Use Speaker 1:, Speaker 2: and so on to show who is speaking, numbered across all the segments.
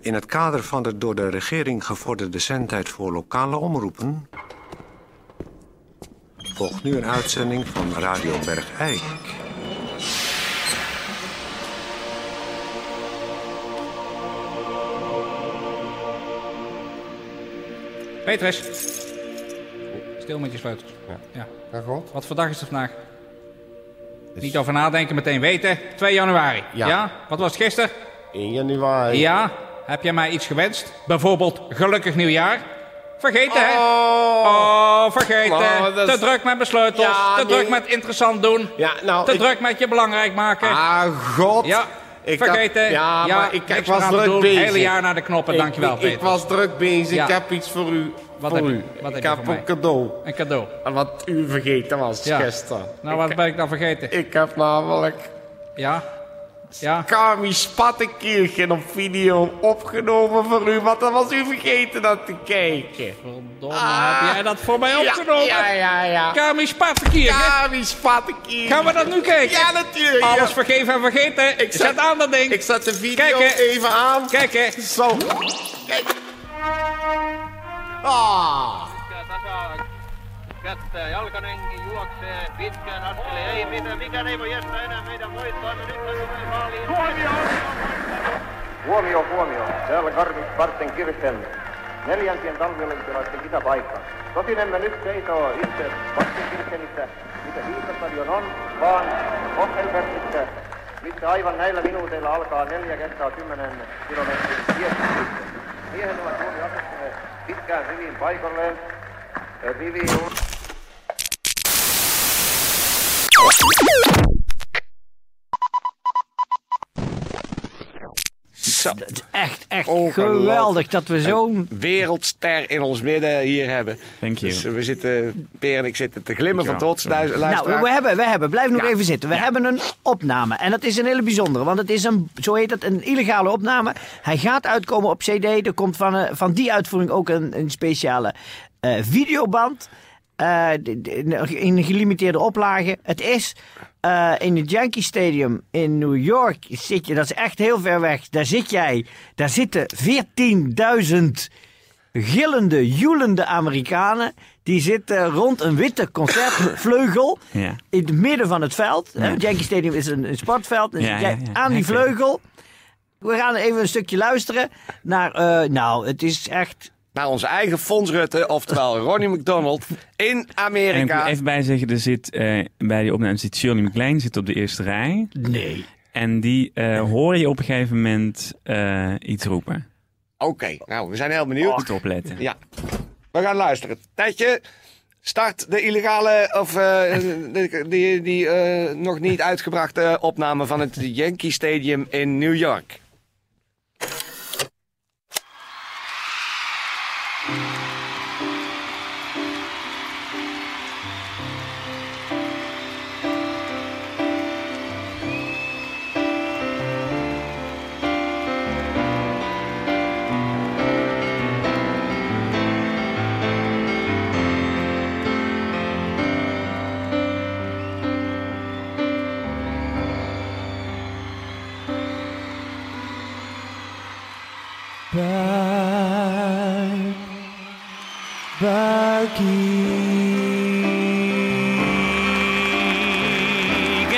Speaker 1: In het kader van de door de regering gevorderde zendtijd voor lokale omroepen... volgt nu een uitzending van Radio Bergijk.
Speaker 2: Petrus. Stil met je sleutels. Ja.
Speaker 3: Dag God.
Speaker 2: Wat voor dag is het vandaag? Niet over nadenken, meteen weten. 2 januari.
Speaker 3: Ja.
Speaker 2: Wat was het gisteren?
Speaker 3: 1 januari.
Speaker 2: Ja. Heb jij mij iets gewenst? Bijvoorbeeld gelukkig nieuwjaar? Vergeten, hè?
Speaker 3: Oh.
Speaker 2: Oh, vergeten.
Speaker 3: Oh, dat is-
Speaker 2: Te druk met besleutels.
Speaker 3: Ja,
Speaker 2: te
Speaker 3: nee.
Speaker 2: druk met interessant doen.
Speaker 3: Ja, nou,
Speaker 2: te
Speaker 3: ik-
Speaker 2: druk met je belangrijk maken.
Speaker 3: Ah, God.
Speaker 2: ja.
Speaker 3: Ik
Speaker 2: vergeten.
Speaker 3: had- ja, maar ik,
Speaker 2: niks
Speaker 3: ik
Speaker 2: meer
Speaker 3: was
Speaker 2: aan te
Speaker 3: druk
Speaker 2: doen.
Speaker 3: bezig.
Speaker 2: Hele jaar naar de knoppen.
Speaker 3: Ik-
Speaker 2: Dankjewel,
Speaker 3: ik,
Speaker 2: Peter.
Speaker 3: ik was druk bezig.
Speaker 2: Ja.
Speaker 3: Ik heb iets voor u.
Speaker 2: Wat
Speaker 3: voor
Speaker 2: heb je-
Speaker 3: u.
Speaker 2: wat heb
Speaker 3: ik
Speaker 2: je
Speaker 3: heb
Speaker 2: voor
Speaker 3: een
Speaker 2: mij?
Speaker 3: cadeau.
Speaker 2: Een cadeau.
Speaker 3: Wat u vergeten was
Speaker 2: Ja.
Speaker 3: gisteren.
Speaker 2: Nou,
Speaker 3: ik,
Speaker 2: wat ben ik dan vergeten?
Speaker 3: ik heb namelijk
Speaker 2: Ja? Ja?
Speaker 3: Kami Spattenkirchen op video opgenomen voor u. Want dat was u vergeten dat te kijken.
Speaker 2: Verdomme,
Speaker 3: Ah.
Speaker 2: heb jij dat voor mij
Speaker 3: Ja,
Speaker 2: opgenomen?
Speaker 3: Ja, ja, ja.
Speaker 2: Kami Spatenkier, hè?
Speaker 3: Kami Spattenkirchen.
Speaker 2: Gaan we dat nu kijken?
Speaker 3: Ja, natuurlijk. ja.
Speaker 2: Alles vergeven en vergeten. Ik
Speaker 3: Ik
Speaker 2: zet,
Speaker 3: zet-
Speaker 2: aan dat ding.
Speaker 3: Ik zet de
Speaker 2: Kijk,
Speaker 3: video
Speaker 2: hè.
Speaker 3: even aan.
Speaker 2: Kijk, hè.
Speaker 3: Zo. Kijk. Ah.
Speaker 4: tasa kättä jalkanenkin juoksee pitkän askeleen. Ei mitään, mikään ei voi jättää enää meidän voittoa. Nyt me maaliin.
Speaker 5: Huomio, huomio. Täällä Karvi Karten Kirsten. Neljäntien talviolympialaisten kisapaikka. Tosin emme nyt seisoo itse Karten Kirstenissä, mikä Viikastadion on, vaan Hockelbergissä, missä aivan näillä minuuteilla alkaa neljä kertaa kymmenen kilometrin tiesitys. Miehen ovat juuri asettuneet pitkään riviin paikalleen. Rivi on...
Speaker 6: Zo.
Speaker 7: Echt, echt
Speaker 6: Ongelooflijk.
Speaker 7: geweldig dat we zo'n...
Speaker 6: Wereldster in ons midden hier hebben.
Speaker 8: Thank you.
Speaker 6: Dus we zitten, Peer en ik zitten te glimmen van
Speaker 8: Dankjewel.
Speaker 6: trots. Luister,
Speaker 7: Nou, we hebben, we hebben. Blijf nog even zitten. We hebben een opname. En dat is een hele bijzondere. Want het is een, zo heet dat, een illegale opname. Hij gaat uitkomen op cd. Er komt van, eh, van die uitvoering ook een, een speciale eh, videoband. Eh, d- d- in een gelimiteerde oplage. Het is eh, in het Yankee Stadium in New York. Zit je, dat is echt heel ver weg. Daar zit jij. Daar zitten 14.000 gillende, joelende Amerikanen. Die zitten rond een witte concertvleugel
Speaker 8: Ja.
Speaker 7: in het midden van het veld. hè. Het Yankee Stadium is een, een sportveld. En
Speaker 8: Ja,
Speaker 7: zit
Speaker 8: ja,
Speaker 7: jij
Speaker 8: ja.
Speaker 7: Aan die
Speaker 8: Oké.
Speaker 7: vleugel. We gaan even een stukje luisteren naar... eh, nou, het is echt...
Speaker 6: naar onze eigen Fons Rutte, oftewel Ronnie McDonald, in
Speaker 8: En ik moet
Speaker 6: Amerika.
Speaker 8: even bijzeggen, er zit, eh, bij die opname zit Shirley McLean zit op de eerste rij.
Speaker 7: Nee.
Speaker 8: En die eh, hoor je op een gegeven moment eh, iets roepen.
Speaker 6: Oké, nou, we zijn heel benieuwd.
Speaker 8: Goed opletten.
Speaker 6: Ja, we gaan luisteren. Tijdje, start de illegale, of eh, de- die, die eh, nog niet uitgebrachte opname van het Yankee Stadium in New York.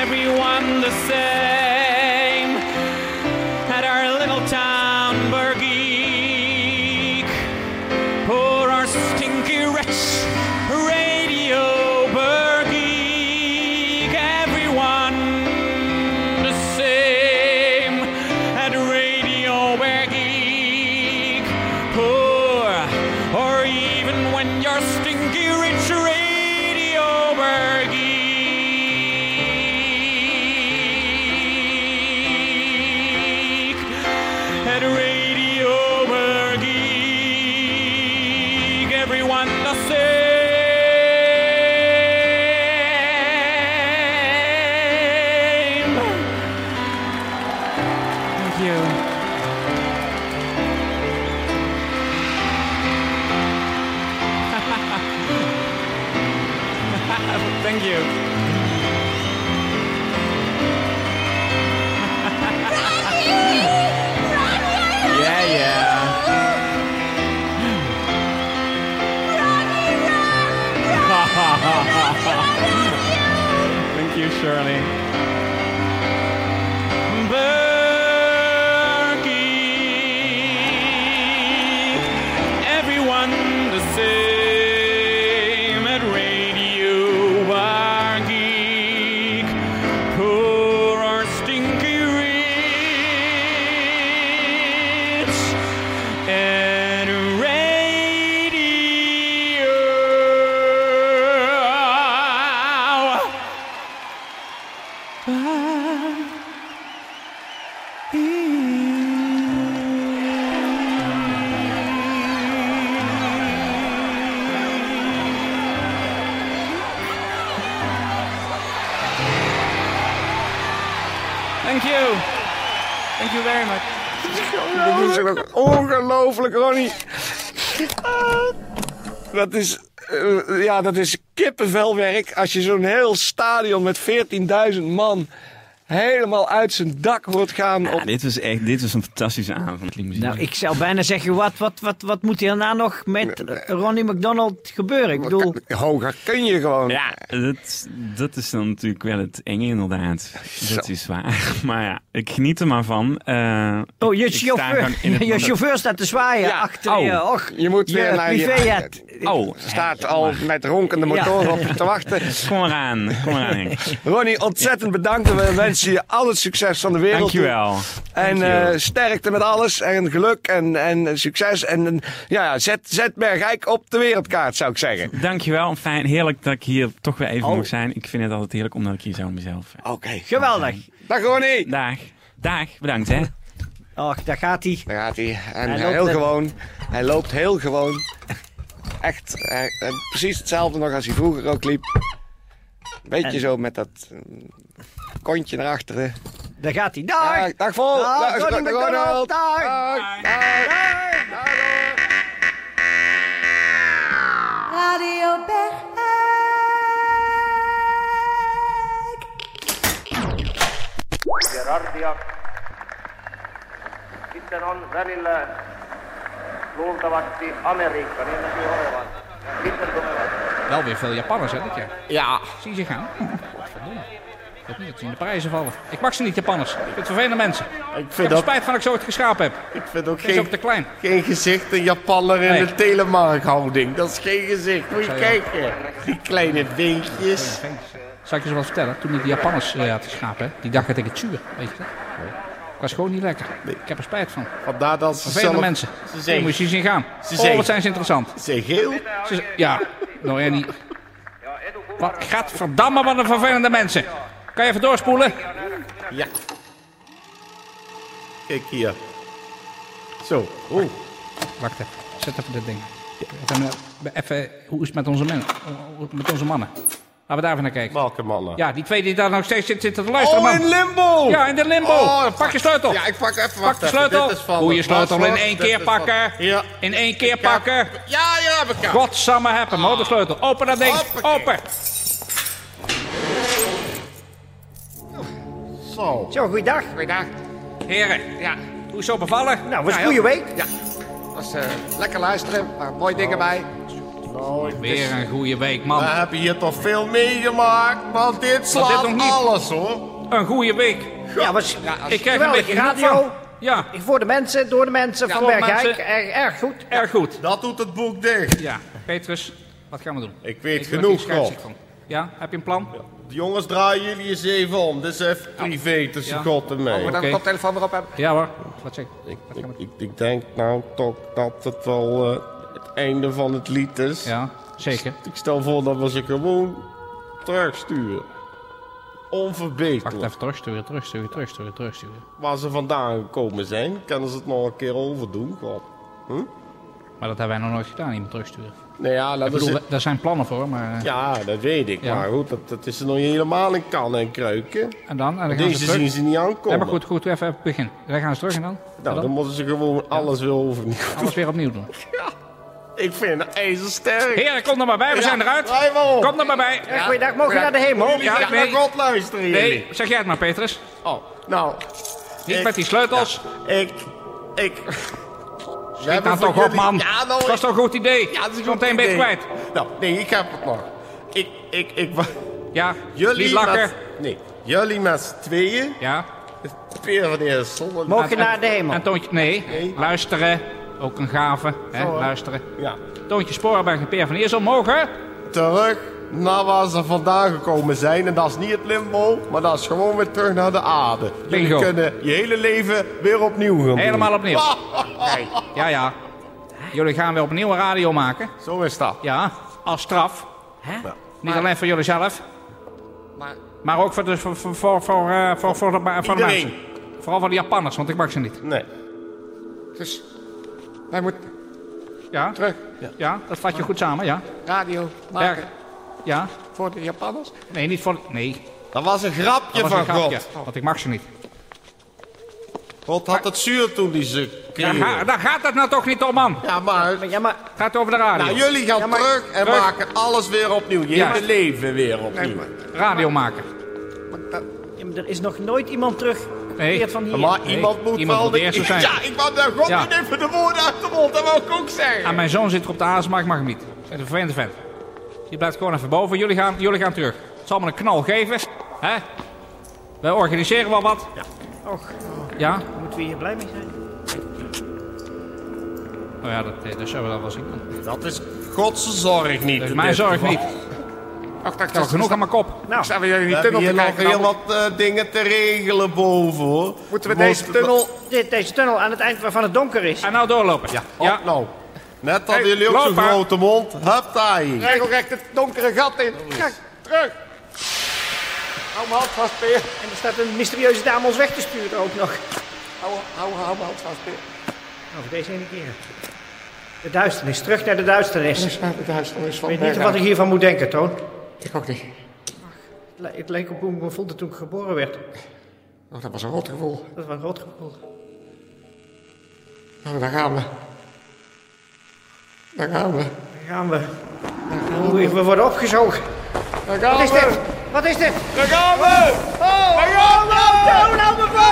Speaker 9: everyone the same at our little town Bergiek. Poor our stinky wretch radio Bergiek. Everyone the same at radio Bergiek. Poor or even when you're stinky rich radio Bergiek at Radio Bergiek. Everyone the same. Thank you. Thank you. Yeah, yeah. you, Shirley. Berkey, everyone the same at Radio Bargeek. Poor or stinky rich at radio. Thank you. Thank you very much.
Speaker 6: Dat is toch ongelooflijk, Ronnie. Ah, Dat is, eh, ja, dat is kippenvelwerk als je zo'n heel stadion met 14.000 man helemaal uit zijn dak hoort gaan. Op...
Speaker 8: Ja, dit was echt dit was een fantastische avond. Die muziek.
Speaker 7: Nou, ik zou bijna zeggen, wat, wat, wat, wat moet hierna nog met Ronnie McDonald gebeuren? Ik bedoel,
Speaker 6: Hoger kun je gewoon.
Speaker 8: Ja, dat, dat is dan natuurlijk wel het enge inderdaad. Dat is waar. Maar ja, ik geniet er maar van. Eh,
Speaker 7: oh, je
Speaker 8: ik sta gewoon
Speaker 7: chauffeur,
Speaker 8: in het-
Speaker 7: je chauffeur staat te zwaaien
Speaker 6: Ja,
Speaker 7: achter
Speaker 8: oh.
Speaker 7: je. Och, eh,
Speaker 6: Je moet weer naar je-
Speaker 7: privé jet.
Speaker 8: Oh,
Speaker 6: Staat al met ronkende motoren op je te wachten.
Speaker 8: kom maar aan. Kom maar aan, Henk.
Speaker 6: Ronnie, ontzettend bedankt. en We wensen je al het succes van de wereld. toe.
Speaker 8: Dankjewel.
Speaker 6: En eh sterkte met alles. En geluk en, en succes. En en, ja, ja, zet, zet Bergijk op de wereldkaart, zou ik zeggen.
Speaker 8: Dankjewel. Fijn, heerlijk dat ik hier toch weer even
Speaker 6: Oh.
Speaker 8: mag zijn. Ik vind het altijd heerlijk omdat ik hier zo mezelf...
Speaker 6: Oké.
Speaker 7: Geweldig.
Speaker 6: Dag Ronnie.
Speaker 8: Dag. Dag. Bedankt, hè.
Speaker 7: Och, daar gaat hij.
Speaker 6: Daar gaat hij. En
Speaker 7: Hij
Speaker 6: hij
Speaker 7: loopt
Speaker 6: heel
Speaker 7: net-
Speaker 6: gewoon. Hij loopt heel gewoon. Echt eh, eh, precies hetzelfde nog als hij vroeger ook liep. Beetje zo met dat eh, kontje naar achteren.
Speaker 7: Daar gaat hij. Dag.
Speaker 6: Dag, dag vol.
Speaker 7: Dag,
Speaker 2: Nou,
Speaker 7: Ronnie McDonald. Dag.
Speaker 6: Dag. Dag. Dag.
Speaker 10: Radio Bergijk.
Speaker 5: Gerardia. Sitten on välillä luultavasti Amerikka, niin näkyy olevan. Sitten tulevat
Speaker 2: Wel weer veel Japanners, hè, dit jaar.
Speaker 3: Ja,
Speaker 2: Zie ze gaan. Hm, Godverdomme. Ik weet niet dat ze in de prijzen vallen. Ik mag ze niet, Japanners. Ik vind het vervelende mensen.
Speaker 3: ik
Speaker 2: Ik
Speaker 3: vind
Speaker 2: heb
Speaker 3: ook,
Speaker 2: spijt van dat ik zo het geschapen heb.
Speaker 3: ik vind ook
Speaker 2: Het is
Speaker 3: geen,
Speaker 2: ook te klein.
Speaker 3: geen gezicht een Japanner in
Speaker 2: Nee.
Speaker 3: de telemarkhouding. Dat is geen gezicht. Moet je
Speaker 2: Zou je-
Speaker 3: kijken. Die kleine beentjes.
Speaker 2: Zal ik je zo wat vertellen? Toen ik die Japanners eh, had geschapen, hè, die dacht dat ik het zuur, weet je dat? Ik was gewoon niet lekker. Ik heb er spijt van.
Speaker 3: Vandaar dat ze
Speaker 2: Vervelende
Speaker 3: zelf-
Speaker 2: mensen.
Speaker 3: Ze
Speaker 2: Daar
Speaker 3: zijn,
Speaker 2: moet je eens in gaan.
Speaker 3: zeggen-
Speaker 2: Oh, wat zijn ze interessant.
Speaker 3: ze zijn geel.
Speaker 2: Ze z- ja, nou Ernie. Wat gaat verdammen wat een vervelende mensen. Kan je even doorspoelen?
Speaker 3: Ja. Kijk hier. Zo. Oeh.
Speaker 2: Wacht even, zet even dit ding. Even, eh, even hoe is het met onze, men, hoe- met onze mannen? Laten we daar even naar kijken.
Speaker 3: Welke mannen?
Speaker 2: Ja, die twee die daar nog steeds zitten zitten te luisteren,
Speaker 3: Oh,
Speaker 2: man.
Speaker 3: in limbo!
Speaker 2: Ja, in de limbo.
Speaker 3: Oh,
Speaker 2: pak je sleutel.
Speaker 3: Ja, ik pak even
Speaker 2: Pak
Speaker 3: wacht
Speaker 2: de
Speaker 3: even,
Speaker 2: sleutel.
Speaker 3: dit is van
Speaker 2: Hoe je
Speaker 3: het
Speaker 2: sleutel in
Speaker 3: paswoord,
Speaker 2: één
Speaker 3: dit
Speaker 2: keer
Speaker 3: is van-
Speaker 2: pakken.
Speaker 3: Ja.
Speaker 2: In één keer
Speaker 3: Ik heb-
Speaker 2: pakken.
Speaker 3: Ja, ja, heb ik hem.
Speaker 2: Godsamme heb hem. Hoor de sleutel. Open dat ding.
Speaker 3: Hoppakee.
Speaker 2: Open.
Speaker 3: Zo.
Speaker 7: Zo, goeiedag.
Speaker 3: Goeiedag.
Speaker 2: Heren. Ja. Hoe is zo bevallen?
Speaker 7: Nou, was een goede week.
Speaker 6: Was, eh, lekker luisteren. maar mooie dingen bij.
Speaker 2: Weer een goede week,
Speaker 3: We
Speaker 2: man.
Speaker 3: hebben hier toch veel meegemaakt, want dit slaat
Speaker 2: nog niet.
Speaker 3: alles hoor.
Speaker 2: Een goede week.
Speaker 7: Ja, was
Speaker 2: Ik krijg een
Speaker 7: geweldig.
Speaker 2: beetje
Speaker 7: radio.
Speaker 2: van. Ja,
Speaker 7: Voor de mensen, door de mensen, van
Speaker 2: voor
Speaker 7: Bergijk. Eh,
Speaker 2: mensen.
Speaker 7: Erg, erg goed.
Speaker 2: erg goed.
Speaker 3: Dat doet het boek dicht.
Speaker 2: Ja, Petrus, wat gaan we doen?
Speaker 3: Ik weet
Speaker 2: word
Speaker 3: genoeg,
Speaker 2: hier scheidsziek
Speaker 3: Rob.
Speaker 2: van. Ja, heb je een plan?
Speaker 3: Jongens, draaien jullie eens even om. Dit is even privé tussen
Speaker 2: Ja. Oh,
Speaker 3: God en mij.
Speaker 2: Oké.
Speaker 6: Dan koptelefoon erop hebben.
Speaker 2: Ja hoor, wat zeg ik? Wat
Speaker 3: Ik,
Speaker 2: gaan we doen?
Speaker 3: ik, ik denk nou toch dat het wel eh, het einde van het lied is.
Speaker 2: Ja, zeker.
Speaker 3: Ik stel voor dat we ze gewoon terugsturen.
Speaker 2: Wacht
Speaker 3: Onverbeterlijk.
Speaker 2: even, terugsturen, terugsturen, terugsturen, terugsturen.
Speaker 3: Waar ze vandaan gekomen zijn, kunnen ze het nog een keer overdoen. God.
Speaker 2: Maar dat hebben wij nog nooit gedaan, iemand terugsturen.
Speaker 3: Nee, Nou ja, dat
Speaker 2: Ik
Speaker 3: is
Speaker 2: bedoel,
Speaker 3: het-
Speaker 2: we- daar zijn plannen voor, maar... eh,
Speaker 3: ja, dat weet ik.
Speaker 2: Ja.
Speaker 3: Maar goed, dat, dat is er nog niet helemaal in kan en kruiken.
Speaker 2: En dan? En dan gaan
Speaker 3: Deze
Speaker 2: ze terug.
Speaker 3: zien ze niet aankomen.
Speaker 2: Nee, maar goed, goed, even even beginnen. Dan gaan ze terug en dan? En
Speaker 3: Nou, dan
Speaker 2: dan?
Speaker 3: moeten ze gewoon alles weer overnieuw.
Speaker 2: Alles weer opnieuw doen.
Speaker 3: Ik vind het ijzersterk.
Speaker 2: Heren, kom er maar bij, we zijn eruit.
Speaker 3: Rij maar op.
Speaker 2: Kom er maar bij.
Speaker 7: Erg goeiedag. Mogen we naar de hemel?
Speaker 3: Jullie gaan
Speaker 2: Ja, nee.
Speaker 3: naar God luisteren, jullie.
Speaker 2: Nee, zeg jij het maar, Petrus.
Speaker 3: Oh, nou,
Speaker 2: Niet
Speaker 3: Ik-
Speaker 2: met die sleutels.
Speaker 3: ik... Ik... We
Speaker 2: Ik
Speaker 3: hebben
Speaker 2: kan
Speaker 3: voor
Speaker 2: toch op,
Speaker 3: jullie-
Speaker 2: man.
Speaker 3: Ja, nou,
Speaker 2: Dat was toch een goed idee?
Speaker 3: Ja, dat is een
Speaker 2: Zo
Speaker 3: goed
Speaker 2: meteen ben je
Speaker 3: idee.
Speaker 2: het kwijt.
Speaker 3: Nou, nee, ik heb het nog. Ik, ik, ik... wa-
Speaker 2: Ja,
Speaker 3: Jullie
Speaker 2: niet lakken.
Speaker 3: met- Nee, jullie met z'n tweeën.
Speaker 2: Ja?
Speaker 3: Peer van Eersel.
Speaker 7: Mogen je naar de hemel?
Speaker 2: Antoontje, nee. Luisteren. Ook een gave. Hè? Luisteren.
Speaker 3: Ja.
Speaker 2: Toontje Sporenberg en Peer van Eersel mogen...
Speaker 3: Terug naar waar ze vandaan gekomen zijn. En dat is niet het limbo, maar dat is gewoon weer terug naar de aarde. Jullie
Speaker 2: Bingo.
Speaker 3: kunnen je hele leven weer opnieuw gaan doen.
Speaker 2: Helemaal opnieuw.
Speaker 3: Oh.
Speaker 2: Ja, ja. Jullie gaan weer opnieuw een radio maken.
Speaker 3: Zo is dat.
Speaker 2: Ja, als straf.
Speaker 3: Ja.
Speaker 2: Niet alleen voor jullie zelf. Maar ook voor de, voor, voor, voor, voor, eh, voor, voor de, ma- voor de
Speaker 3: Iedereen.
Speaker 2: mensen. Vooral voor de Japanners, want ik mag ze niet.
Speaker 3: Nee. Dus wij moeten
Speaker 2: Ja,
Speaker 3: terug
Speaker 2: ja dat vat je goed samen, ja.
Speaker 3: radio
Speaker 2: Berg.
Speaker 3: maken
Speaker 2: Ja,
Speaker 3: voor de Japanners.
Speaker 2: nee, niet voor... Nee,
Speaker 3: Dat was een grapje
Speaker 2: dat was
Speaker 3: van
Speaker 2: een grapje,
Speaker 3: God.
Speaker 2: want ik mag ze niet.
Speaker 3: God had het zuur toen die ze
Speaker 2: Daar,
Speaker 3: kregen.
Speaker 2: ga- daar gaat het nou toch niet om, man.
Speaker 3: Ja, maar...
Speaker 7: Ja, maar
Speaker 2: Het gaat over de radio.
Speaker 3: Nou, jullie gaan terug en
Speaker 2: terug.
Speaker 3: maken alles weer opnieuw. Je
Speaker 2: Ja.
Speaker 3: hele leven weer opnieuw.
Speaker 2: Radio maken.
Speaker 7: ja, maar er is nog nooit iemand teruggekeerd
Speaker 2: Nee.
Speaker 7: van hier.
Speaker 3: Maar
Speaker 2: Nee,
Speaker 3: iemand moet
Speaker 2: iemand
Speaker 3: wel...
Speaker 2: moet
Speaker 3: de-
Speaker 2: eerste zijn.
Speaker 3: Ja, ik wou daar God
Speaker 2: Ja.
Speaker 3: niet even de woorden uit de mond. Dat wou ik ook zeggen.
Speaker 2: En mijn zoon zit er op de haas, maar ik mag hem niet. Dat is een vervelende vent. Je blijft gewoon even boven. Jullie gaan, jullie gaan terug. Het zal me een knal geven. Hè? Wij organiseren wel wat. Ja. Ja?
Speaker 7: Moeten we hier blij mee zijn?
Speaker 2: Nou ja, dat, eh, dat zullen we dan wel zien. Dat
Speaker 3: Dat is Gods zorg niet.
Speaker 2: is
Speaker 3: in
Speaker 2: mijn
Speaker 3: dit
Speaker 2: zorg
Speaker 3: geval.
Speaker 2: niet. Ik heb al genoeg aan mijn kop.
Speaker 7: Nou,
Speaker 6: Zijn we jullie
Speaker 3: We
Speaker 6: die tunnel
Speaker 3: hebben
Speaker 6: te
Speaker 3: hier
Speaker 6: kijken?
Speaker 3: nog heel
Speaker 6: Dan
Speaker 3: wat eh, dingen te regelen boven, hoor.
Speaker 6: moeten we deze tunnel...
Speaker 7: dit, deze tunnel aan het eind waarvan het donker is.
Speaker 2: En nou doorlopen. Ja.
Speaker 3: Ja. nou. Net hadden
Speaker 2: Hey,
Speaker 3: jullie ook zo'n
Speaker 2: loop maar.
Speaker 3: grote mond. Hup, daar hier.
Speaker 6: Regelrecht het donkere gat in. Kijk, terug. Hou me hand vast, Peer.
Speaker 7: En er staat een mysterieuze dame ons weg te sturen ook nog.
Speaker 6: Hou, hou, hou me hand vast, Peer.
Speaker 7: Nou, voor deze ene keer. De duisternis, terug naar de duisternis. Ik
Speaker 6: Dus uit het huis nog eens van
Speaker 7: weet niet wat ik hiervan moet denken, Toon.
Speaker 6: Ik ook niet.
Speaker 7: Het li- Het leek op hoe ik me voelde toen ik geboren werd.
Speaker 6: Oh, dat was een rot gevoel.
Speaker 7: Dat was een rot gevoel.
Speaker 6: Nou, daar gaan we. Daar gaan we.
Speaker 7: Daar gaan we. Oei, we worden opgezogen.
Speaker 6: Daar gaan
Speaker 7: Wat is
Speaker 6: we.
Speaker 7: dit? Wat is dit?
Speaker 6: Daar gaan we. Daar gaan we.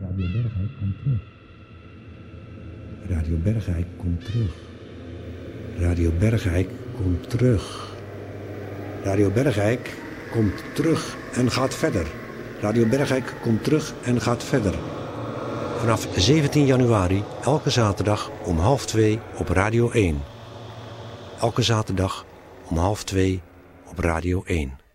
Speaker 1: Radio Bergijk komt terug. Radio Bergijk komt terug. Radio Bergijk komt terug. Radio Bergijk komt terug en gaat verder. Radio Bergijk komt terug en gaat verder. Vanaf 17 januari, elke zaterdag om half 2 op Radio 1. Elke zaterdag om half 2 op Radio 1.